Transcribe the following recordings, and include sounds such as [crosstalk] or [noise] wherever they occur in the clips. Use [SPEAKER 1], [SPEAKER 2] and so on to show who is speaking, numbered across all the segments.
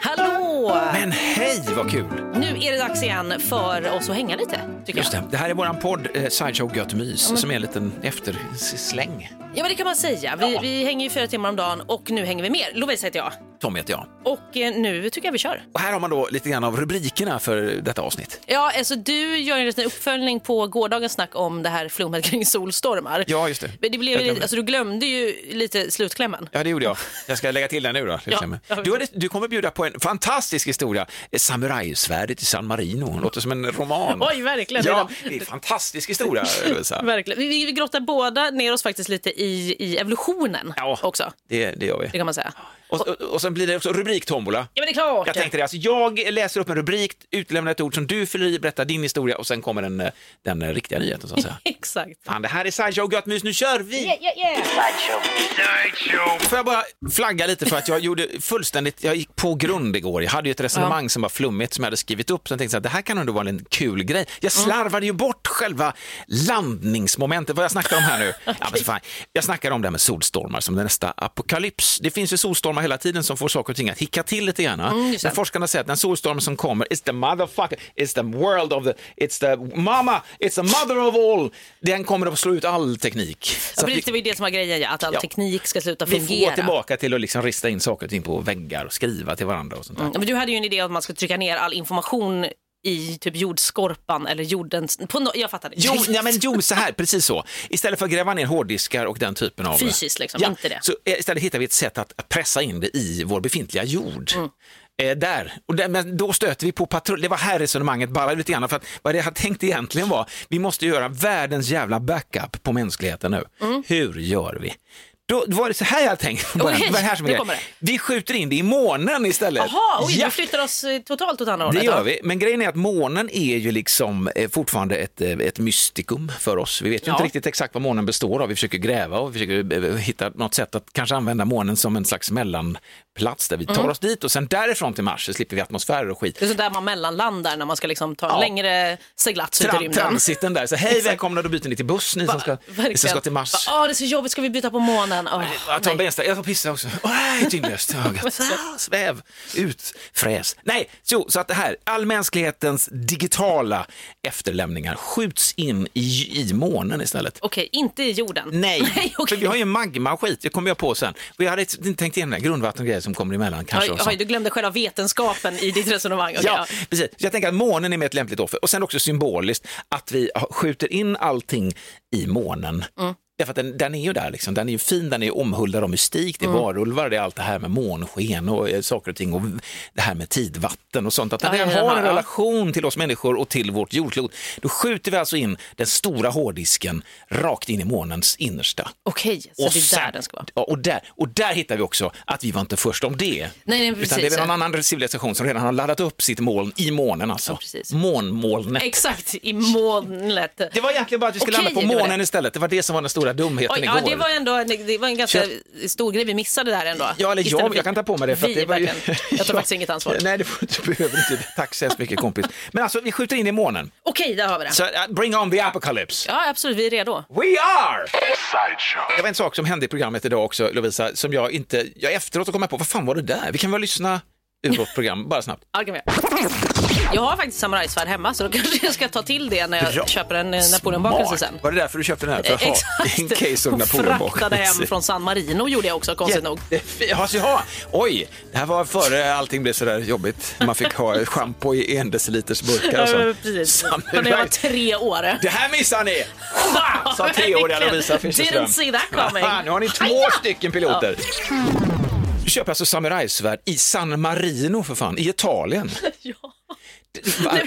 [SPEAKER 1] Hallå!
[SPEAKER 2] Men hej vad kul!
[SPEAKER 1] Nu är det dags igen för oss att hänga lite. Tycker jag.
[SPEAKER 2] Just det, det här är våran podd eh, Sideshow Gött Mys som är en liten eftersläng.
[SPEAKER 1] Ja, men det kan man säga. Vi, vi hänger ju fyra timmar om dagen och nu hänger vi mer. Lovisa heter jag.
[SPEAKER 2] Tom heter jag.
[SPEAKER 1] Och eh, nu tycker jag vi kör.
[SPEAKER 2] Och här har man då lite grann av rubrikerna för detta avsnitt.
[SPEAKER 1] Ja, alltså du gör en liten uppföljning på gårdagens snack om det här flummet kring solstormar.
[SPEAKER 2] Ja, just det.
[SPEAKER 1] Men det blev,
[SPEAKER 2] Jag
[SPEAKER 1] ju-
[SPEAKER 2] glömde.
[SPEAKER 1] alltså, du glömde ju lite slutklämmen.
[SPEAKER 2] Ja, det gjorde jag. Jag ska lägga till den nu då. till
[SPEAKER 1] Ja.
[SPEAKER 2] exempel. Du, hade, du kommer bjuda på en fantastisk historia. Eh, Samurajsvärdet i San Marino. Låter som en roman.
[SPEAKER 1] Oj, verkligen.
[SPEAKER 2] Ja, det är en
[SPEAKER 1] [laughs]
[SPEAKER 2] fantastisk historia, Lovisa.
[SPEAKER 1] Verkligen. Vi, vi vi grottar båda ner oss faktiskt lite i, i evolutionen
[SPEAKER 2] Ja.
[SPEAKER 1] också.
[SPEAKER 2] Det, det gör
[SPEAKER 1] Det
[SPEAKER 2] vi.
[SPEAKER 1] kan man säga.
[SPEAKER 2] Och, och, och sen blir det också rubriktombola.
[SPEAKER 1] Ja, men det är klart.
[SPEAKER 2] Jag tänkte det, alltså jag läser upp en rubrik, utelämnar ett ord som du fyller i, berättar din historia och sen kommer den, eh, den eh, riktiga nyheten så
[SPEAKER 1] [laughs]
[SPEAKER 2] att säga.
[SPEAKER 1] [laughs] Exakt.
[SPEAKER 2] Fan, det här är Sideshow Gött Mys, nu kör vi! Får jag bara flagga lite för att jag gjorde fullständigt, jag gick på grund igår. Jag hade ju ett resonemang som var flummigt som jag hade skrivit upp. Sen tänkte jag att det här kan ändå vara en kul grej. Jag slarvade ju bort själva landningsmomentet, vad jag snackar om
[SPEAKER 1] [laughs]
[SPEAKER 2] här nu. ja, men så fan. Jag snackar om det här med solstormar som det nästa apokalyps. Det finns ju solstormar hela tiden som får saker och ting att hicka till lite grann.
[SPEAKER 1] Mm,
[SPEAKER 2] När forskarna säger att den solstorm som kommer, it's the motherfucker, it's the world of the, it's the mama, it's the mother of all. Den kommer att slå ut all teknik.
[SPEAKER 1] Ja,
[SPEAKER 2] Så att
[SPEAKER 1] precis,
[SPEAKER 2] vi-
[SPEAKER 1] det var ju det som var grejen, ja, att all
[SPEAKER 2] Ja.
[SPEAKER 1] teknik ska sluta
[SPEAKER 2] vi får gå
[SPEAKER 1] fungera.
[SPEAKER 2] tillbaka till att liksom rista in saker och ting på väggar och skriva till varandra och sånt där.
[SPEAKER 1] Ja, Men du hade ju en idé om att man skulle trycka ner all information i typ jordskorpan eller jordens... På no... Jag fattar.
[SPEAKER 2] Jo, ja, men jo, så här, precis så. Istället för att gräva ner hårddiskar och den typen av...
[SPEAKER 1] Fysiskt liksom, inte det.
[SPEAKER 2] Så eh, istället hittar vi ett sätt att pressa in det i vår befintliga jord.
[SPEAKER 1] Mm.
[SPEAKER 2] Eh, där. Och där, men då stöter vi på patrull. Det var här resonemanget bara lite grann. För att vad det jag hade tänkt egentligen var, vi måste göra världens jävla backup på mänskligheten nu.
[SPEAKER 1] Mm.
[SPEAKER 2] Hur gör vi? Då då var det så här jag hade tänkt. från början.
[SPEAKER 1] Okej,
[SPEAKER 2] Det var det här som var
[SPEAKER 1] nu
[SPEAKER 2] grejen.
[SPEAKER 1] kommer
[SPEAKER 2] Vi skjuter in det i månen istället.
[SPEAKER 1] Jaha, oj,
[SPEAKER 2] Ja.
[SPEAKER 1] vi flyttar oss eh, totalt åt andra hållet.
[SPEAKER 2] Det gör
[SPEAKER 1] ja.
[SPEAKER 2] vi, men grejen är att månen är ju liksom eh, fortfarande ett, eh, ett mystikum för oss. Vi vet ju
[SPEAKER 1] Ja.
[SPEAKER 2] inte riktigt exakt vad månen består av. Vi försöker gräva och vi försöker eh, hitta något sätt att kanske använda månen som en slags mellanplats där vi tar oss dit och sen därifrån till Mars så slipper vi atmosfärer och skit.
[SPEAKER 1] Mm. Det är så där man mellanlandar när man ska liksom ta en
[SPEAKER 2] Ja.
[SPEAKER 1] längre seglats ut i
[SPEAKER 2] Tran-
[SPEAKER 1] rymden.
[SPEAKER 2] transiten där, så hej välkomna, då byter ni till buss ni som ska, ni
[SPEAKER 1] Verkligen.
[SPEAKER 2] som ska till Mars.
[SPEAKER 1] Bara, "Ah, det är så jobbigt, ska vi byta på månen? Åh,
[SPEAKER 2] Jag tar en
[SPEAKER 1] nej.
[SPEAKER 2] bensträck, jag får pissa också. Åh, Nej, tyngdlöst.
[SPEAKER 1] [laughs]
[SPEAKER 2] Ögat. Ah, Sväv, ut, fräs. Nej, så, så att det här, all mänsklighetens digitala efterlämningar skjuts in i, i månen istället.
[SPEAKER 1] Okej, inte i jorden. [laughs]
[SPEAKER 2] Nej,
[SPEAKER 1] okej.
[SPEAKER 2] för vi har ju magma och skit, det kommer jag på sen. Och jag hade inte tänkt igenom det, här, grundvatten och grejer som kommer emellan kanske.
[SPEAKER 1] Oj,
[SPEAKER 2] och
[SPEAKER 1] oj,
[SPEAKER 2] sånt.
[SPEAKER 1] du glömde själva vetenskapen i ditt resonemang. Okej,
[SPEAKER 2] Ja, precis. Så jag tänker att månen är med ett lämpligt offer. Och sen också symboliskt att vi skjuter in allting i månen.
[SPEAKER 1] Mm.
[SPEAKER 2] Därför att den, den är ju där, liksom. den är ju fin, den är omhuldad av mystik, det är
[SPEAKER 1] Mm.
[SPEAKER 2] varulvar, det är allt det här med månsken och eh, saker och ting och det här med tidvatten och sånt. Att den
[SPEAKER 1] Ja, ja,
[SPEAKER 2] redan
[SPEAKER 1] den
[SPEAKER 2] har
[SPEAKER 1] har-
[SPEAKER 2] en
[SPEAKER 1] ja.
[SPEAKER 2] relation till oss människor och till vårt jordklot. Då skjuter vi alltså in den stora hårddisken rakt in i månens innersta.
[SPEAKER 1] Okej, så det är där den ska vara.
[SPEAKER 2] Ja, och, där, och där hittar vi också att vi var inte först om det.
[SPEAKER 1] nej,
[SPEAKER 2] Utan
[SPEAKER 1] precis.
[SPEAKER 2] det är väl någon annan civilisation som redan har laddat upp sitt moln i månen alltså.
[SPEAKER 1] Ja, precis.
[SPEAKER 2] Månmolnet.
[SPEAKER 1] Exakt, i molnet.
[SPEAKER 2] Det var egentligen bara att vi skulle
[SPEAKER 1] Okej,
[SPEAKER 2] landa på
[SPEAKER 1] det var
[SPEAKER 2] månen
[SPEAKER 1] det.
[SPEAKER 2] istället. Det var det som var den stora dumheten
[SPEAKER 1] Oj,
[SPEAKER 2] igår.
[SPEAKER 1] ja, det var ändå en, det var en ganska stor grej vi missade där ändå.
[SPEAKER 2] Ja, eller
[SPEAKER 1] Istället
[SPEAKER 2] jag,
[SPEAKER 1] för-
[SPEAKER 2] jag kan ta på mig det. För
[SPEAKER 1] vi,
[SPEAKER 2] att det var ju...
[SPEAKER 1] verkligen. Jag tar
[SPEAKER 2] [laughs] Ja.
[SPEAKER 1] faktiskt inget ansvar.
[SPEAKER 2] Nej, det får du behöver inte. Tack så hemskt mycket kompis. Men alltså, vi skjuter in i månen.
[SPEAKER 1] Okej, där har vi det.
[SPEAKER 2] Så uh, bring on the apocalypse.
[SPEAKER 1] Ja, absolut, vi är redo.
[SPEAKER 2] We are! Det var en sak som hände i programmet idag också, Lovisa, som jag inte... Jag efteråt kom jag på, vad fan var det där? Vi kan väl lyssna ur vårt program,
[SPEAKER 1] [laughs]
[SPEAKER 2] bara snabbt.
[SPEAKER 1] Ja, det kan vi göra. Jag har faktiskt samurajsvärd hemma så då kanske jag ska ta till det när jag
[SPEAKER 2] Bra.
[SPEAKER 1] köper en eh, napoleonbakelse sen.
[SPEAKER 2] Var det därför du köpte den här? För
[SPEAKER 1] Eh,
[SPEAKER 2] att ha [laughs] en case of
[SPEAKER 1] Och fraktade
[SPEAKER 2] Napoleonbakelse.
[SPEAKER 1] hem från San Marino gjorde jag också konstigt nog.
[SPEAKER 2] Jättefin. Ja, så ja. Oj, det här var före allting blev sådär jobbigt. Man fick ha schampo i en deciliters burkar och
[SPEAKER 1] Ja,
[SPEAKER 2] sånt.
[SPEAKER 1] Precis,
[SPEAKER 2] Samurai.
[SPEAKER 1] när jag var tre år.
[SPEAKER 2] Det här missar ni! Ha! Sa treåriga
[SPEAKER 1] Verkligen. [laughs]
[SPEAKER 2] Lovisa Fischerström.
[SPEAKER 1] Didn't see that coming.
[SPEAKER 2] Aha,
[SPEAKER 1] [laughs]
[SPEAKER 2] nu har ni två stycken piloter.
[SPEAKER 1] [laughs]
[SPEAKER 2] Du köper alltså samurajsvärd i San Marino för fan, i Italien. Va-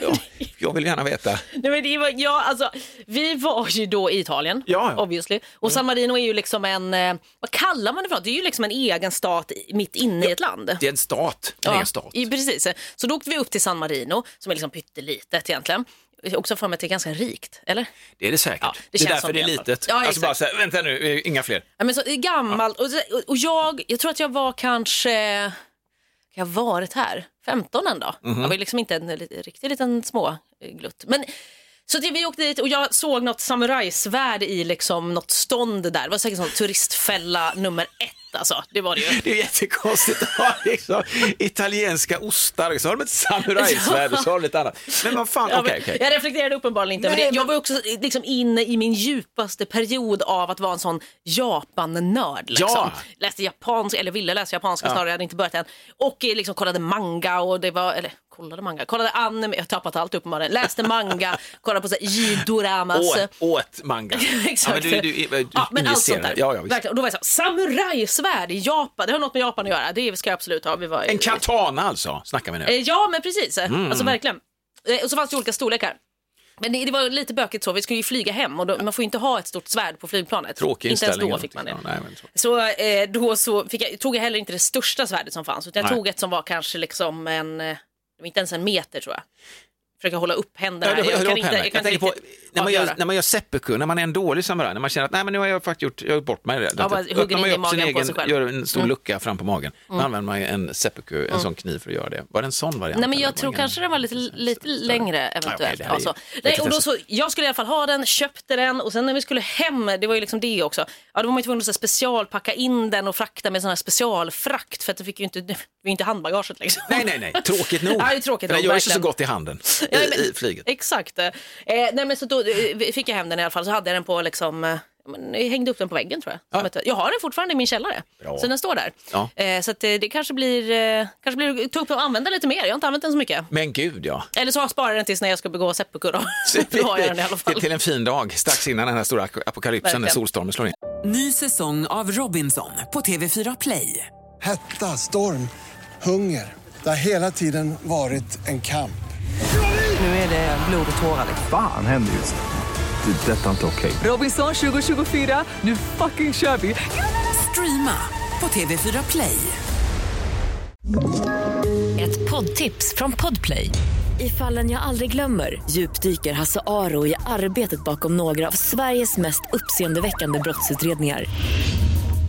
[SPEAKER 2] Jag vill gärna veta.
[SPEAKER 1] Nej, men det var, ja, alltså, vi var ju då i Italien,
[SPEAKER 2] Ja, Mm. ja.
[SPEAKER 1] obviously. Och San Marino är ju liksom en, eh, vad kallar man det för något? Det är ju liksom en egen stat i- mitt inne i ett land.
[SPEAKER 2] Det är en stat. Det är en stat.
[SPEAKER 1] i- precis. Så då åkte vi upp till San Marino, som är liksom pyttelitet egentligen. Jag har Också för mig att det är ganska rikt, eller?
[SPEAKER 2] Det är det säkert.
[SPEAKER 1] Ja, det
[SPEAKER 2] det,
[SPEAKER 1] känns
[SPEAKER 2] är
[SPEAKER 1] som
[SPEAKER 2] därför det är
[SPEAKER 1] det i alla fall.
[SPEAKER 2] litet.
[SPEAKER 1] Ja,
[SPEAKER 2] alltså
[SPEAKER 1] exakt.
[SPEAKER 2] bara så här, vänta nu, eh, inga fler.
[SPEAKER 1] Ja, men så, det är gammalt. Och, så- och jag, jag tror att jag var kanske, kan jag ha varit här, 15 en dag. Jag var ju liksom inte en li- riktig liten småglutt. Men, så det, vi åkte dit och jag såg något samurajsvärd i liksom något stånd där. Det var säkert sån turistfälla nummer ett alltså. Det var det ju.
[SPEAKER 2] Det är jättekonstigt att ha liksom, italienska ostar, så har de ett samurajsvärd och så har de lite annat. Men vad fan,
[SPEAKER 1] Ja,
[SPEAKER 2] okej,
[SPEAKER 1] men
[SPEAKER 2] okej.
[SPEAKER 1] Jag reflekterade uppenbarligen inte över
[SPEAKER 2] Nej,
[SPEAKER 1] det. Jag var ju också liksom inne i min djupaste period av att vara en sån Japan-nörd. Liksom.
[SPEAKER 2] Ja.
[SPEAKER 1] Läste japanska, eller ville läsa japanska snarare, jag hade inte börjat än. Och eh, liksom kollade manga och det var, eller kollade manga, kollade anime, jag har tappat allt uppenbarligen. Läste
[SPEAKER 2] [laughs]
[SPEAKER 1] manga, kollade på så här jidoramas. [laughs]
[SPEAKER 2] Åt, åt manga.
[SPEAKER 1] alltså- Exakt.
[SPEAKER 2] Ja, men du, du, du
[SPEAKER 1] Ja, men allt
[SPEAKER 2] injicerar
[SPEAKER 1] sånt där.
[SPEAKER 2] det. Ja, ja, visst.
[SPEAKER 1] Verkligen. Och då var jag så här, samurajsvärd i Japan, det har något med Japan att göra. Det ska jag absolut ha. Vi var,
[SPEAKER 2] En katana alltså, snackar vi nu.
[SPEAKER 1] Eh, Ja, men precis. Eh,
[SPEAKER 2] Mm.
[SPEAKER 1] Alltså verkligen. Eh, Och så fanns det olika storlekar. Men det, det var lite bökigt så, vi skulle ju flyga hem och då, man får ju inte ha ett stort svärd på flygplanet.
[SPEAKER 2] Tråkig
[SPEAKER 1] inte ens
[SPEAKER 2] inställning.
[SPEAKER 1] då fick man det.
[SPEAKER 2] Ja, nej, men så.
[SPEAKER 1] Så eh, då så fick jag, tog jag heller inte det största svärdet som fanns utan jag
[SPEAKER 2] Nej.
[SPEAKER 1] tog ett som var kanske liksom en, eh, det var inte ens en meter tror jag. Försöker hålla upp händerna.
[SPEAKER 2] Ja, det-
[SPEAKER 1] jag
[SPEAKER 2] det var
[SPEAKER 1] kan inte,
[SPEAKER 2] pennan.
[SPEAKER 1] jag kan inte
[SPEAKER 2] tänker på
[SPEAKER 1] riktigt
[SPEAKER 2] när man, gör,
[SPEAKER 1] avgöra.
[SPEAKER 2] när man gör seppuku, när man är en dålig samuraj, när man känner att nej men nu har jag faktiskt gjort, jag har gjort bort mig. i det.
[SPEAKER 1] Ja, bara hugger
[SPEAKER 2] Öppnar man
[SPEAKER 1] in
[SPEAKER 2] ju
[SPEAKER 1] i
[SPEAKER 2] upp sin
[SPEAKER 1] magen på
[SPEAKER 2] egen,
[SPEAKER 1] sig själv. Mm.
[SPEAKER 2] gör en stor lucka fram på magen. Då använder man ju en seppuku, en sån kniv för att göra det. Var det en sån variant?
[SPEAKER 1] Nej men
[SPEAKER 2] eller
[SPEAKER 1] jag
[SPEAKER 2] var
[SPEAKER 1] tror
[SPEAKER 2] det
[SPEAKER 1] kanske
[SPEAKER 2] en-
[SPEAKER 1] den var lite, lite längre eventuellt.
[SPEAKER 2] det här är
[SPEAKER 1] Ja, så.
[SPEAKER 2] ju-
[SPEAKER 1] Nej,
[SPEAKER 2] vilket
[SPEAKER 1] och då
[SPEAKER 2] är så-
[SPEAKER 1] så, jag skulle i alla fall ha den, köpte den och sen när vi skulle hem, det var ju liksom det också, ja, då var man ju tvungen att så här specialpacka in den och frakta med sån här specialfrakt för att det fick ju inte, det var ju inte handbagaget liksom.
[SPEAKER 2] Nej, nej,
[SPEAKER 1] [laughs]
[SPEAKER 2] nej. Tråkigt nog.
[SPEAKER 1] Ja, det är tråkigt
[SPEAKER 2] För
[SPEAKER 1] nog,
[SPEAKER 2] den gör ju så
[SPEAKER 1] verkligen.
[SPEAKER 2] gott i handen i,
[SPEAKER 1] Nej, men-
[SPEAKER 2] i flyget.
[SPEAKER 1] Exakt. Eh, nej, men så då eh, fick jag hem den i alla fall, så hade jag den på liksom eh, men jag hängde upp den på väggen tror jag. Som ett- Jag har den fortfarande i min källare.
[SPEAKER 2] Bra.
[SPEAKER 1] Så den står där.
[SPEAKER 2] Ja.
[SPEAKER 1] Eh, så att eh, det kanske blir, eh, kanske blir, ta upp den och använda lite mer. Jag har inte använt den så mycket.
[SPEAKER 2] Men
[SPEAKER 1] [laughs]
[SPEAKER 2] gud ja.
[SPEAKER 1] Eller så sparar jag den tills när jag ska begå
[SPEAKER 2] [laughs]
[SPEAKER 1] seppuku då. då har jag den i alla fall.
[SPEAKER 2] Till, till en fin dag, strax innan den här stora apokalypsen, när
[SPEAKER 1] Verkligen.
[SPEAKER 2] solstormen slår in.
[SPEAKER 3] Ny säsong av Robinson på TV4 Play.
[SPEAKER 4] Hetta, storm, hunger. Det har hela tiden varit en kamp.
[SPEAKER 3] Nu är det blod och tårar. liksom.
[SPEAKER 5] Fan händer just det. Det är detta inte okej.
[SPEAKER 3] Robinson 2024, nu fucking kör vi! Streama på TV4 Play.
[SPEAKER 6] Ett poddtips från Podplay. I fallen jag aldrig glömmer djupdyker Hasse Aro i arbetet bakom några av Sveriges mest uppseendeväckande brottsutredningar.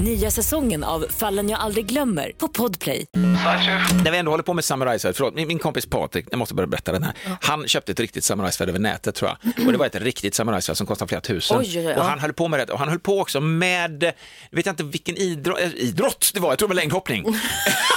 [SPEAKER 6] Nya säsongen av Fallen jag aldrig glömmer på Podplay.
[SPEAKER 2] När vi ändå håller på med samurajsvärd, förlåt, min, min kompis Patrik, jag måste bara berätta den här. Han köpte ett riktigt samurajsvärd över nätet tror jag. Och det var ett riktigt samurajsvärd som kostade flera tusen.
[SPEAKER 1] Oj, oj, oj,
[SPEAKER 2] och
[SPEAKER 1] ja.
[SPEAKER 2] han höll på med det, och han höll på också med, jag vet inte vilken idrott, eh, idrott det var, jag tror det var längdhoppning.
[SPEAKER 1] [laughs]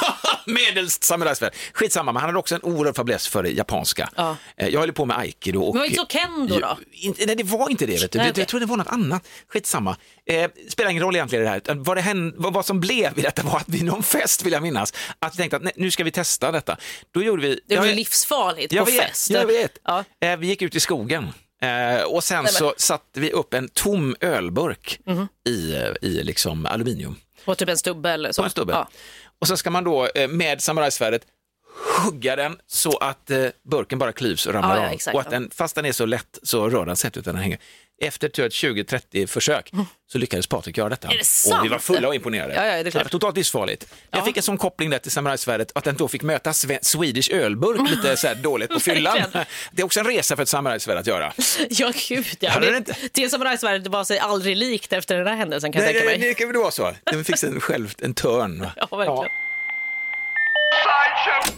[SPEAKER 2] [laughs] Medelst samurajsvärd. Skitsamma, men han hade också en oerhörd fäbless för det japanska.
[SPEAKER 1] Ja.
[SPEAKER 2] Eh, Jag höll på med aikido. Och,
[SPEAKER 1] Men var det inte så kendo då?
[SPEAKER 2] Inte- nej, det var inte det. Vet du.
[SPEAKER 1] Nej,
[SPEAKER 2] det,
[SPEAKER 1] okej.
[SPEAKER 2] Jag tror det var något annat. Skitsamma. Eh, spelar ingen roll egentligen det här. utan Vad, det hände, vad, vad som blev i detta var att vid någon fest, vill jag minnas, att vi tänkte att nej, nu ska vi testa detta. Då gjorde vi...
[SPEAKER 1] Det är ju
[SPEAKER 2] jag-
[SPEAKER 1] livsfarligt
[SPEAKER 2] jag
[SPEAKER 1] på
[SPEAKER 2] vet,
[SPEAKER 1] fest.
[SPEAKER 2] Jag vet.
[SPEAKER 1] Ja.
[SPEAKER 2] Eh, vi gick ut i skogen. Eh, och sen
[SPEAKER 1] men- Mhm.
[SPEAKER 2] så satte vi upp en tom ölburk i, eh, i liksom aluminium
[SPEAKER 1] På typ en stubbe eller så.
[SPEAKER 2] på en stubbe.
[SPEAKER 1] Ja. [laughs]
[SPEAKER 2] Och sen ska man då eh, med samurajsvärdet hugga den så att eh, burken bara klyvs och ramlar
[SPEAKER 1] Ja, ja,
[SPEAKER 2] av.
[SPEAKER 1] exakt.
[SPEAKER 2] och att den, fast den är så lätt så rör den sig inte utan den hänger. Efter tror jag, 20-30 försök så lyckades Patrik göra detta.
[SPEAKER 1] Mm. Är det
[SPEAKER 2] och vi var
[SPEAKER 1] sant?
[SPEAKER 2] fulla och imponerade.
[SPEAKER 1] Ja, ja, det är klart.
[SPEAKER 2] Totalt livsfarligt. Jag fick en sån koppling där till samurajsvärdet att den då fick möta sve-
[SPEAKER 1] [laughs]
[SPEAKER 2] Swedish ölburk lite så här dåligt på fyllan.
[SPEAKER 1] Verkligen.
[SPEAKER 2] [laughs] Det är också en resa för ett samurajsvärd att göra.
[SPEAKER 1] Ja, gud ja.
[SPEAKER 2] Hade
[SPEAKER 1] Det,
[SPEAKER 2] det inte-
[SPEAKER 1] det samurajsvärdet var sig aldrig likt efter den här händelsen kan jag tänka mig.
[SPEAKER 2] det kan väl vara så. Den fick sig en, själv, en törn. va?
[SPEAKER 1] [laughs] Ja, verkligen.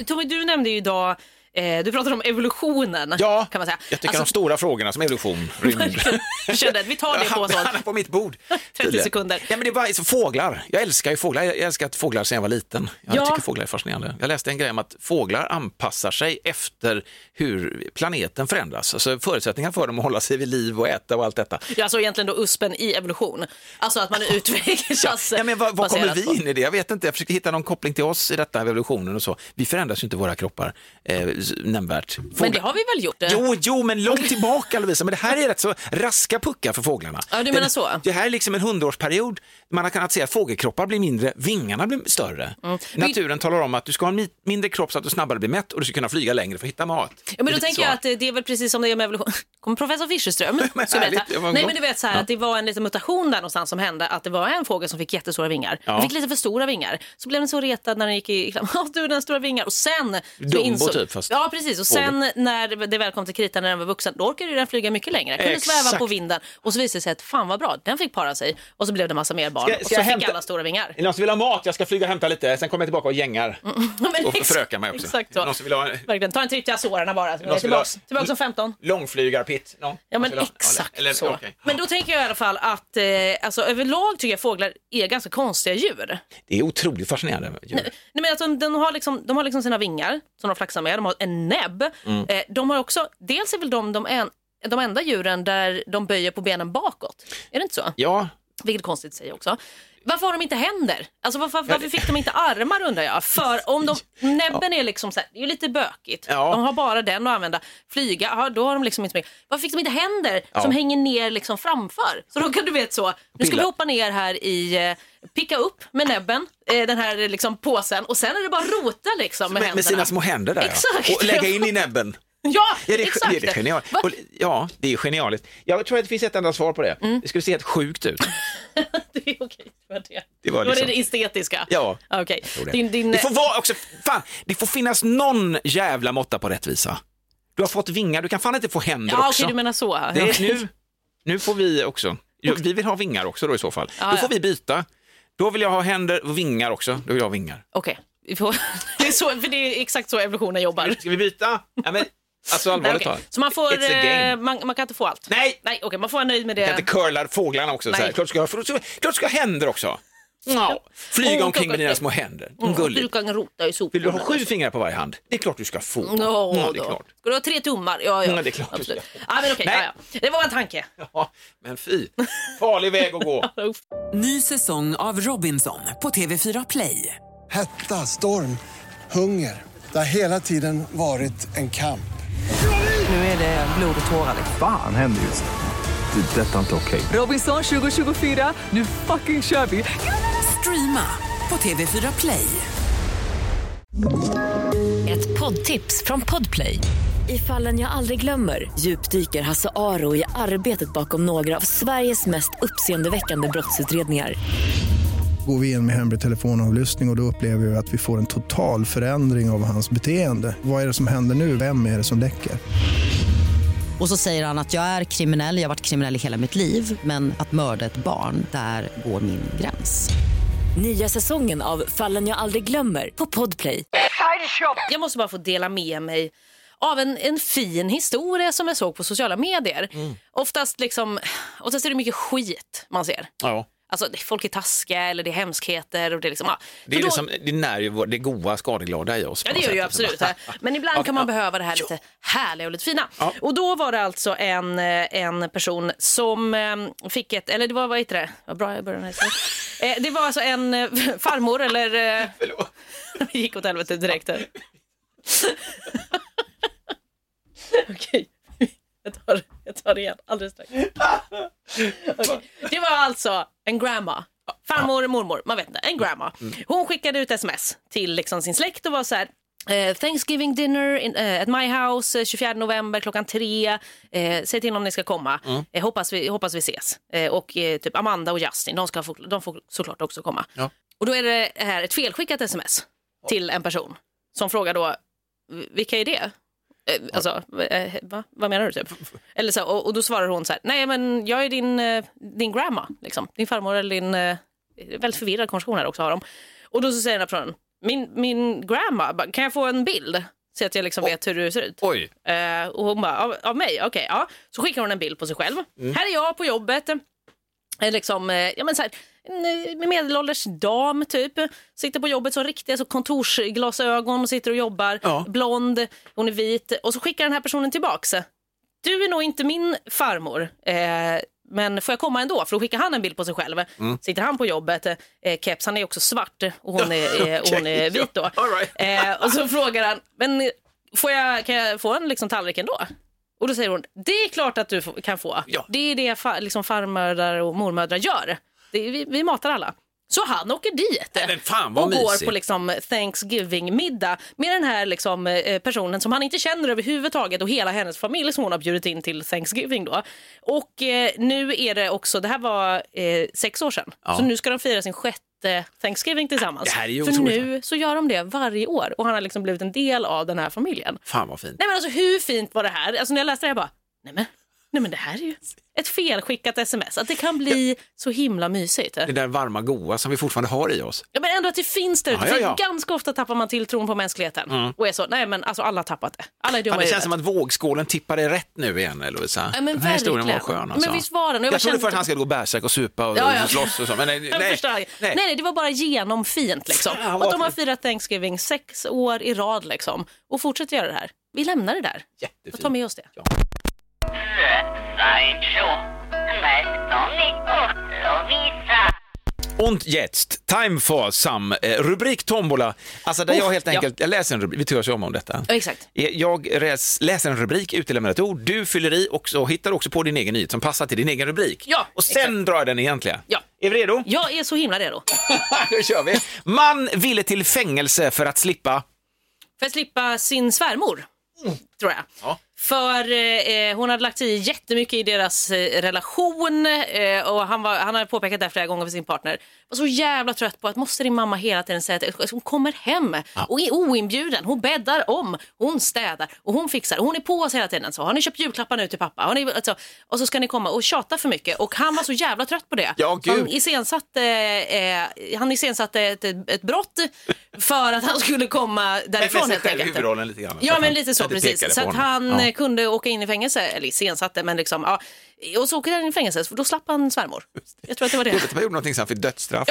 [SPEAKER 1] Tommy, du nämnde ju idag, eh, du pratade om evolutionen.
[SPEAKER 2] Ja,
[SPEAKER 1] kan man säga.
[SPEAKER 2] jag tycker de
[SPEAKER 1] Alltså,
[SPEAKER 2] stora frågorna som evolution, rymd.
[SPEAKER 1] [laughs] jag kände att vi tar
[SPEAKER 2] [laughs]
[SPEAKER 1] det på
[SPEAKER 2] Han-
[SPEAKER 1] sånt.
[SPEAKER 2] Han är på
[SPEAKER 1] [laughs]
[SPEAKER 2] mitt bord.
[SPEAKER 1] 30 sekunder.
[SPEAKER 2] Ja, men det är bara, så fåglar. Jag älskar ju fåglar. Jag älskar att fåglar sedan jag var liten. Jag
[SPEAKER 1] Ja.
[SPEAKER 2] tycker fåglar är fascinerande. Jag läste en grej om att fåglar anpassar sig efter hur planeten förändras. Alltså förutsättningar för dem att hålla sig vid liv och äta och allt detta.
[SPEAKER 1] Ja, alltså egentligen då uspen i evolution. Alltså att
[SPEAKER 2] [laughs]
[SPEAKER 1] man utvecklas
[SPEAKER 2] Ja, men vad, vad kommer
[SPEAKER 1] baserat
[SPEAKER 2] vi
[SPEAKER 1] på-
[SPEAKER 2] in i det? Jag vet inte. Jag försökte hitta någon koppling till oss i detta med evolutionen och så. Vi förändras ju inte våra kroppar. Eh, s- nämnvärt.
[SPEAKER 1] Men
[SPEAKER 2] Fåglar-
[SPEAKER 1] det har vi väl gjort? eh?
[SPEAKER 2] Jo, jo, men långt tillbaka Lovisa, men det här är rätt så raska puckar för fåglarna.
[SPEAKER 1] Ja, du
[SPEAKER 2] Den-
[SPEAKER 1] menar så.
[SPEAKER 2] Det här är liksom en hundraårsperiod. Man har kunnat se att fågelkroppar blir mindre, vingarna blir större.
[SPEAKER 1] Mm.
[SPEAKER 2] Naturen talar om att du ska ha en mi- mindre kropp så att du snabbare blir mätt och du ska kunna flyga längre för att hitta mat.
[SPEAKER 1] Ja, men
[SPEAKER 2] Det är
[SPEAKER 1] då
[SPEAKER 2] lite
[SPEAKER 1] tänker
[SPEAKER 2] så.
[SPEAKER 1] jag att eh, det är väl precis som det är med evolution. [laughs] Kommer professor Fischerström?
[SPEAKER 2] [laughs] Men
[SPEAKER 1] ska berätta.
[SPEAKER 2] härligt, det var en
[SPEAKER 1] Nej,
[SPEAKER 2] gång.
[SPEAKER 1] men du vet så här att det var en liten mutation där någonstans som hände. Att det var en fågel som fick jättestora vingar.
[SPEAKER 2] Ja.
[SPEAKER 1] Den fick lite för stora vingar. Så blev den så retad när den gick i kläm. [laughs] Ja, du den har stora vingar. Och sen... så
[SPEAKER 2] Dumbo typ, fast
[SPEAKER 1] Ja, precis. Och sen när det väl kom till kritan när den var vuxen, då orkade ju den flyga mycket längre. Kunde sväva
[SPEAKER 2] Exakt.
[SPEAKER 1] på vinden. Och så visade det sig att fan vad bra, den fick para sig. Och så blev det massa mer barn.
[SPEAKER 2] Ska-
[SPEAKER 1] och
[SPEAKER 2] ska
[SPEAKER 1] så
[SPEAKER 2] jag
[SPEAKER 1] fick
[SPEAKER 2] hämta-
[SPEAKER 1] alla stora vingar.
[SPEAKER 2] Är det någon som vill ha mat? Jag ska flyga och hämta lite, sen kommer jag tillbaka och gängar.
[SPEAKER 1] Men
[SPEAKER 2] Och
[SPEAKER 1] Mm, ex-
[SPEAKER 2] förökar mig också.
[SPEAKER 1] [laughs] Exakt så.
[SPEAKER 2] Någon som vill ha en
[SPEAKER 1] Verkligen. Ta en tripp till Azorerna bara.
[SPEAKER 2] som vill ha-
[SPEAKER 1] Tillbaks, tillbaks om 15.
[SPEAKER 2] långflygarpitt? Någon?
[SPEAKER 1] Ja
[SPEAKER 2] Någon
[SPEAKER 1] men
[SPEAKER 2] vill ha-
[SPEAKER 1] exakt
[SPEAKER 2] Alltså, eller-
[SPEAKER 1] så.
[SPEAKER 2] okej.
[SPEAKER 1] Men då tänker jag i alla fall att eh, alltså, överlag tycker jag fåglar är ganska konstiga djur.
[SPEAKER 2] Det är otroligt fascinerande. djur.
[SPEAKER 1] Nej, men alltså, de, har liksom, de har liksom sina vingar som de flaxar med, de har en näbb.
[SPEAKER 2] Mm.
[SPEAKER 1] Eh, de har också, dels är väl de de, en, de enda djuren där de böjer på benen bakåt. Är det inte så?
[SPEAKER 2] Ja,
[SPEAKER 1] Vilket är konstigt säger också. Varför har de inte händer? Alltså varför, varför fick de inte armar undrar jag? För om
[SPEAKER 2] [laughs]
[SPEAKER 1] de, näbben är liksom så här, det är ju lite bökigt.
[SPEAKER 2] Ja.
[SPEAKER 1] De har bara den att använda. Flyga, ja, då har de liksom inte mycket. Varför fick de inte händer som hänger ner liksom framför? Så då kan du vet så, nu ska
[SPEAKER 2] Pilla.
[SPEAKER 1] vi hoppa ner här i, eh, picka upp med näbben, eh, den här eh, liksom påsen och sen är det bara rota liksom med,
[SPEAKER 2] med, med
[SPEAKER 1] händerna.
[SPEAKER 2] sina små händer där. ja.
[SPEAKER 1] Exakt.
[SPEAKER 2] Och lägga in i näbben.
[SPEAKER 1] [laughs] Ja,
[SPEAKER 2] Ja, det är,
[SPEAKER 1] exakt.
[SPEAKER 2] det är genialt.
[SPEAKER 1] Va-
[SPEAKER 2] Och, ja, det är genialiskt. Jag tror att det finns ett enda svar på det.
[SPEAKER 1] Mm.
[SPEAKER 2] Det skulle se helt sjukt ut.
[SPEAKER 1] [laughs] det är okej, det var det.
[SPEAKER 2] Det var
[SPEAKER 1] Det var
[SPEAKER 2] liksom-
[SPEAKER 1] det estetiska.
[SPEAKER 2] Ja.
[SPEAKER 1] Okej. Din, din,
[SPEAKER 2] Det får vara också, fan, det får finnas någon jävla måtta på rättvisa. Du har fått vingar, du kan fan inte få händer
[SPEAKER 1] ja,
[SPEAKER 2] också.
[SPEAKER 1] okej, du menar så. ja.
[SPEAKER 2] det är, nu, nu får vi också, Jo, vi vill ha vingar också då i så fall.
[SPEAKER 1] Ja,
[SPEAKER 2] då får
[SPEAKER 1] ja.
[SPEAKER 2] vi byta. Då vill jag ha händer och vingar också. Då vill jag ha vingar.
[SPEAKER 1] Okej. Vi får- [laughs] Det, är så- för det är exakt så evolutionen jobbar.
[SPEAKER 2] Ska vi byta? Ja, men, alltså
[SPEAKER 1] Nej,
[SPEAKER 2] allvarligt
[SPEAKER 1] okej.
[SPEAKER 2] talat.
[SPEAKER 1] Så man, får,
[SPEAKER 2] It's a game.
[SPEAKER 1] eh, man, man kan inte få allt?
[SPEAKER 2] Nej!
[SPEAKER 1] Nej, okej, man får vara nöjd med
[SPEAKER 2] Jag
[SPEAKER 1] det.
[SPEAKER 2] inte curlar fåglarna också. Så här.
[SPEAKER 1] Nej.
[SPEAKER 2] Klart ska jag klart ska jag ha händer också. Ja. Flyga
[SPEAKER 1] Oh,
[SPEAKER 2] omkring med dina
[SPEAKER 1] klockan-
[SPEAKER 2] små händer.
[SPEAKER 1] Mm,
[SPEAKER 2] Gulligt.
[SPEAKER 1] Du kan rota i
[SPEAKER 2] Vill du
[SPEAKER 1] soporna.
[SPEAKER 2] ha sju fingrar på varje hand? Det är klart du ska få.
[SPEAKER 1] Ja,
[SPEAKER 2] ja, det är
[SPEAKER 1] då.
[SPEAKER 2] klart.
[SPEAKER 1] Ska du ha tre tummar? Ja, ja.
[SPEAKER 2] Ja, det är klart.
[SPEAKER 1] Absolut. Ja, men okej,
[SPEAKER 2] Nej.
[SPEAKER 1] ja, ja. Det var en tanke. [laughs]
[SPEAKER 2] Ja, men fy, farlig väg att gå.
[SPEAKER 3] Ny säsong av Robinson på TV4 Play.
[SPEAKER 4] Hetta, storm, hunger. Det har hela tiden varit en kamp.
[SPEAKER 3] Nu är det blod och tårar. liksom.
[SPEAKER 5] Fan händer just nu. Det. är Detta är inte okej.
[SPEAKER 3] Robinson 2024, nu fucking kör vi! Streama på TV4 Play.
[SPEAKER 6] Ett poddtips från Podplay. I fallen jag aldrig glömmer djupdyker Hasse Aro i arbetet bakom några av Sveriges mest uppseendeväckande brottsutredningar.
[SPEAKER 7] Går vi in med hemlig telefonavlyssning och, och då upplever vi att vi får en total förändring av hans beteende. Vad är det som händer nu? Vem är det som läcker?
[SPEAKER 8] Och så säger han att jag är kriminell, jag har varit kriminell i hela mitt liv men att mörda ett barn, där går min gräns.
[SPEAKER 6] Nya säsongen av Fallen jag aldrig glömmer på Podplay.
[SPEAKER 1] Jag måste bara få dela med mig av en, en fin historia som jag såg på sociala medier.
[SPEAKER 2] Mm.
[SPEAKER 1] Oftast, liksom, oftast är det mycket skit man ser.
[SPEAKER 2] Ja.
[SPEAKER 1] Alltså, det- folk är taskiga eller det är hemskheter. Och det är liksom, ja.
[SPEAKER 2] Det, är
[SPEAKER 1] För då-
[SPEAKER 2] liksom, det när ju vår- det goa, skadeglada i oss. på
[SPEAKER 1] Ja, det
[SPEAKER 2] något
[SPEAKER 1] gör det ju
[SPEAKER 2] sätt.
[SPEAKER 1] absolut.
[SPEAKER 2] Så bara-
[SPEAKER 1] Men ibland
[SPEAKER 2] Okej,
[SPEAKER 1] kan man
[SPEAKER 2] ja.
[SPEAKER 1] behöva det här lite härliga och lite fina.
[SPEAKER 2] Ja.
[SPEAKER 1] Och då var det alltså en, eh, en person som eh, fick ett, eller det var, vad heter det? Vad bra jag började med det här. Eh, Det var alltså en eh, [laughs] farmor eller... eh,
[SPEAKER 2] [laughs] Förlåt.
[SPEAKER 1] Det [laughs] gick åt helvete direkt här. [laughs] Okej, jag tar, jag tar det igen alldeles strax. Okej. Det var alltså en grandma. Farmor, mormor, man vet inte. En grandma. Hon skickade ut sms till liksom sin släkt och var så här. eh, Thanksgiving dinner in, eh, at my house eh, 24 november klockan tre. Eh, säg till om ni ska komma. Eh, hoppas, vi, hoppas vi ses. Eh, och eh, typ Amanda och Justin, de, ska få, de får såklart också komma.
[SPEAKER 2] Ja.
[SPEAKER 1] Och då är det här ett felskickat sms till en person som frågar då, vilka är det? Eh, Alltså, eh, va? vad menar du? Typ? Eller så, här, och, och då svarar hon så här, nej men jag är din, eh, din grandma, liksom. din farmor eller din, eh, väldigt förvirrad konversation här också har de. Och då så säger den här personen, min, min grandma, bara, kan jag få en bild? Så att jag liksom vet hur du ser ut.
[SPEAKER 2] Oj,
[SPEAKER 1] Eh, och hon bara, av, av mig? Okej, ja. Så skickar hon en bild på sig själv. Här är jag på jobbet. Eh, Liksom, eh, ja, men så här, en eh, medelålders dam typ. Sitter på jobbet som riktiga så kontorsglasögon och sitter och jobbar.
[SPEAKER 2] Ja.
[SPEAKER 1] Blond, hon är vit. Och så skickar den här personen tillbaks. Du är nog inte min farmor. Eh, men får jag komma ändå? För då skickar han en bild på sig själv.
[SPEAKER 2] Mm.
[SPEAKER 1] Sitter han på jobbet, eh, keps, han är också svart och hon är, eh, hon är
[SPEAKER 2] [laughs] Okej,
[SPEAKER 1] vit då.
[SPEAKER 2] ja. All right.
[SPEAKER 1] Eh, och så frågar han, men Får jag, kan jag få en liksom, tallrik ändå? Och då säger hon, det är klart att du får- kan få.
[SPEAKER 2] Ja.
[SPEAKER 1] Det är det fa, liksom, farmödrar och mormödrar gör. Det, är- vi, vi matar alla. Så han åker dit
[SPEAKER 2] Nej, men fan, vad
[SPEAKER 1] och går
[SPEAKER 2] mysigt.
[SPEAKER 1] på liksom, Thanksgiving-middag med den här liksom, eh, personen som han inte känner överhuvudtaget och hela hennes familj som hon har bjudit in till Thanksgiving. Då. Och eh, nu är det också, det här var eh, sex år sedan,
[SPEAKER 2] Ja.
[SPEAKER 1] så nu ska de fira sin sjätte Thanksgiving tillsammans.
[SPEAKER 2] Det här är ju
[SPEAKER 1] För
[SPEAKER 2] otroligt.
[SPEAKER 1] nu så gör de det varje år och han har liksom blivit en del av den här familjen.
[SPEAKER 2] Fan vad fint.
[SPEAKER 1] Nej men alltså hur fint var det här? Alltså när jag läste det jag bara, nej men, nej men det här är ju ett felskickat sms. Att det kan bli så himla mysigt.
[SPEAKER 2] Det där varma goa som vi fortfarande har i oss.
[SPEAKER 1] Ja, men ändå att det finns där ute.
[SPEAKER 2] Ja, ja,
[SPEAKER 1] För
[SPEAKER 2] ja.
[SPEAKER 1] Ganska ofta tappar man tilltron på mänskligheten. Och är så, nej men alltså alla har tappat det. Alla är dumma
[SPEAKER 2] Fan, det
[SPEAKER 1] i
[SPEAKER 2] känns som
[SPEAKER 1] huvudet.
[SPEAKER 2] att vågskålen tippade rätt nu igen, Lovisa.
[SPEAKER 1] Ja, men
[SPEAKER 2] den här historien var
[SPEAKER 1] verkligen.
[SPEAKER 2] skön
[SPEAKER 1] Men
[SPEAKER 2] alltså.
[SPEAKER 1] visst var den, och jag
[SPEAKER 2] Jag,
[SPEAKER 1] bara
[SPEAKER 2] trodde
[SPEAKER 1] kände-
[SPEAKER 2] först han skulle gå bärsärk och supa och,
[SPEAKER 1] Ja, ja.
[SPEAKER 2] och slåss och så, men
[SPEAKER 1] [laughs]
[SPEAKER 2] nej.
[SPEAKER 1] Jag
[SPEAKER 2] nej,
[SPEAKER 1] förstår. nej. nej, det var bara genomfint liksom.
[SPEAKER 2] Fan, vad
[SPEAKER 1] och de har
[SPEAKER 2] fint.
[SPEAKER 1] firat Thanksgiving sex år i rad liksom. Och fortsätter göra det här. Vi lämnar det där.
[SPEAKER 2] Jättefint.
[SPEAKER 1] Och tar med oss det.
[SPEAKER 9] Sideshow med Sonic och Lovisa.
[SPEAKER 2] Und jetzt, time for some, eh, rubrik tombola. Alltså där
[SPEAKER 1] Oh,
[SPEAKER 2] jag helt
[SPEAKER 1] ja.
[SPEAKER 2] enkelt, jag läser en rubrik, vi turas ju om om detta.
[SPEAKER 1] Ja, exakt.
[SPEAKER 2] Eh, Jag res- läser en rubrik, utelämnar ett ord, du fyller i och så hittar också på din egen nyhet som passar till din egen rubrik.
[SPEAKER 1] Ja,
[SPEAKER 2] och sen
[SPEAKER 1] exakt.
[SPEAKER 2] drar jag den egentliga.
[SPEAKER 1] Ja.
[SPEAKER 2] Är vi redo?
[SPEAKER 1] Jag är så himla redo.
[SPEAKER 2] [laughs] Då kör vi. Man ville till fängelse för att slippa...
[SPEAKER 1] För att slippa sin svärmor, tror jag.
[SPEAKER 2] Mm. Ja.
[SPEAKER 1] För eh, hon hade lagt sig i jättemycket i deras eh, relation eh, och han, var, han hade påpekat det här flera gånger för sin partner. Var så jävla trött på att måste din mamma hela tiden säga att hon kommer hem och är oinbjuden. Hon bäddar om, hon städar och hon fixar. Och hon är på oss hela tiden. Så, har ni köpt julklappar nu till pappa? Har ni, alltså, och så ska ni komma och tjata för mycket. Och han var så jävla trött på det.
[SPEAKER 2] Ja,
[SPEAKER 1] Så han
[SPEAKER 2] gud.
[SPEAKER 1] iscensatte, eh, han iscensatte ett, ett brott för att han skulle komma därifrån helt enkelt.
[SPEAKER 2] huvudrollen lite grann.
[SPEAKER 1] Ja, men lite så
[SPEAKER 2] Att det pekade
[SPEAKER 1] precis.
[SPEAKER 2] på
[SPEAKER 1] Så att
[SPEAKER 2] honom.
[SPEAKER 1] han
[SPEAKER 2] Ja.
[SPEAKER 1] eh, kunde åka in i fängelse, eller iscensatte, men liksom, ja. Och så åker han in i fängelse, för då slapp han svärmor. Jag tror att det var det.
[SPEAKER 2] Vet du, man gjorde någonting så han
[SPEAKER 1] [laughs]
[SPEAKER 2] fick dödsstraff.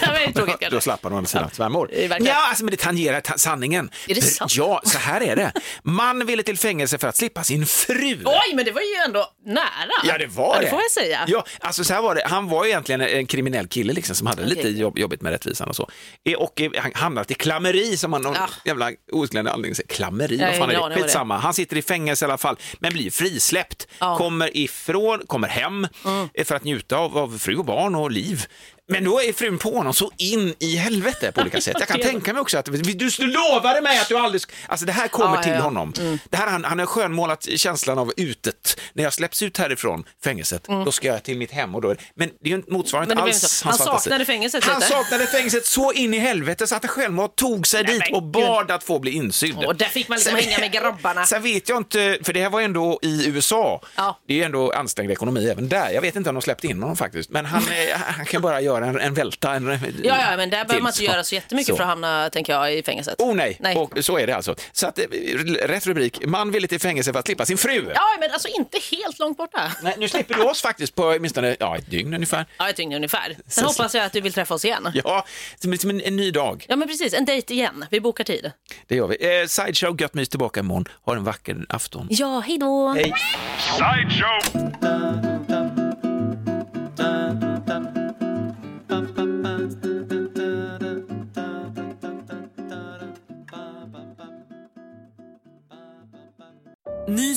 [SPEAKER 1] det var ju tråkigt kanske.
[SPEAKER 2] Då slapp han å andra sidan svärmor.
[SPEAKER 1] det är verkligen.
[SPEAKER 2] Ja, alltså, men det tangerar ta- sanningen.
[SPEAKER 1] Är det
[SPEAKER 2] För-
[SPEAKER 1] sant?
[SPEAKER 2] Ja, så här är det. Man ville till fängelse för att slippa sin fru.
[SPEAKER 1] Oj, men det var ju ändå nära.
[SPEAKER 2] Ja, det var det.
[SPEAKER 1] det får jag säga.
[SPEAKER 2] Ja, alltså så här var det. Han var ju egentligen en kriminell kille liksom, som hade
[SPEAKER 1] Okej.
[SPEAKER 2] lite jobb, jobbigt med rättvisan och så. Eh, Och eh, han hamnat i klammeri som han någon
[SPEAKER 1] Ah.
[SPEAKER 2] jävla osgländig anledning säger. Klammeri,
[SPEAKER 1] Jag har
[SPEAKER 2] vad fan
[SPEAKER 1] ingen
[SPEAKER 2] är
[SPEAKER 1] aning vad
[SPEAKER 2] det?
[SPEAKER 1] det är.
[SPEAKER 2] Skitsamma. Han sitter i fängelse i alla fall, men blir frisläppt.
[SPEAKER 1] Ja. Mm.
[SPEAKER 2] Kommer ifrån, kommer hem eh, för att njuta av, av fru och barn och liv. Men då är frun på honom så in i helvete på
[SPEAKER 1] [laughs]
[SPEAKER 2] olika sätt. Jag kan tänka mig också att du du lovade mig att du aldrig... sk- Alltså det här kommer
[SPEAKER 1] Ja,
[SPEAKER 2] till
[SPEAKER 1] ja, Mm. ja.
[SPEAKER 2] honom. Det här, han, han har skönmålat känslan av utet. När jag släpps ut härifrån fängelset, då ska jag till mitt hem. Och då är det, men det är ju inte- motsvarar inte
[SPEAKER 1] Mm. Men det blev
[SPEAKER 2] alls
[SPEAKER 1] inte så.
[SPEAKER 2] hans
[SPEAKER 1] Han
[SPEAKER 2] fantasi.
[SPEAKER 1] saknade fängelset
[SPEAKER 2] Han
[SPEAKER 1] lite.
[SPEAKER 2] saknade fängelset så in i helvete så att han självmant tog sig dit
[SPEAKER 1] men
[SPEAKER 2] och bad att få bli insydd.
[SPEAKER 1] Och där fick man liksom hänga med grabbarna.
[SPEAKER 2] [laughs] Sen vet jag inte, för det här var ändå i USA.
[SPEAKER 1] Ja.
[SPEAKER 2] Det är ju ändå ansträngd ekonomi även där. Jag vet inte om de släppte in honom faktiskt.
[SPEAKER 1] [laughs]
[SPEAKER 2] Men han, eh, han kan bara göra en, en välta. En, eh,
[SPEAKER 1] Ja, ja, men där behöver man
[SPEAKER 2] till.
[SPEAKER 1] inte göra så jättemycket för att hamna, tänker jag, i fängelset.
[SPEAKER 2] Oh nej.
[SPEAKER 1] nej.
[SPEAKER 2] Och så är det alltså. Så att, eh, rätt rubrik, man ville till fängelse för att slippa sin fru.
[SPEAKER 1] Ja, men alltså inte helt långt borta.
[SPEAKER 2] Nej, nu slipper du oss faktiskt på åtminstone ja, ett dygn ungefär.
[SPEAKER 1] Ja, ett dygn ungefär. Sen
[SPEAKER 2] Så-
[SPEAKER 1] hoppas jag att du vill träffa oss igen.
[SPEAKER 2] Ja, som, som en, en ny dag.
[SPEAKER 1] Ja, men precis. En dejt igen. Vi bokar tid.
[SPEAKER 2] Det gör vi. Eh, Sideshow, gött mys tillbaka imorgon. Ha en vacker afton.
[SPEAKER 1] Ja, hej då.
[SPEAKER 9] Sideshow!
[SPEAKER 3] Ny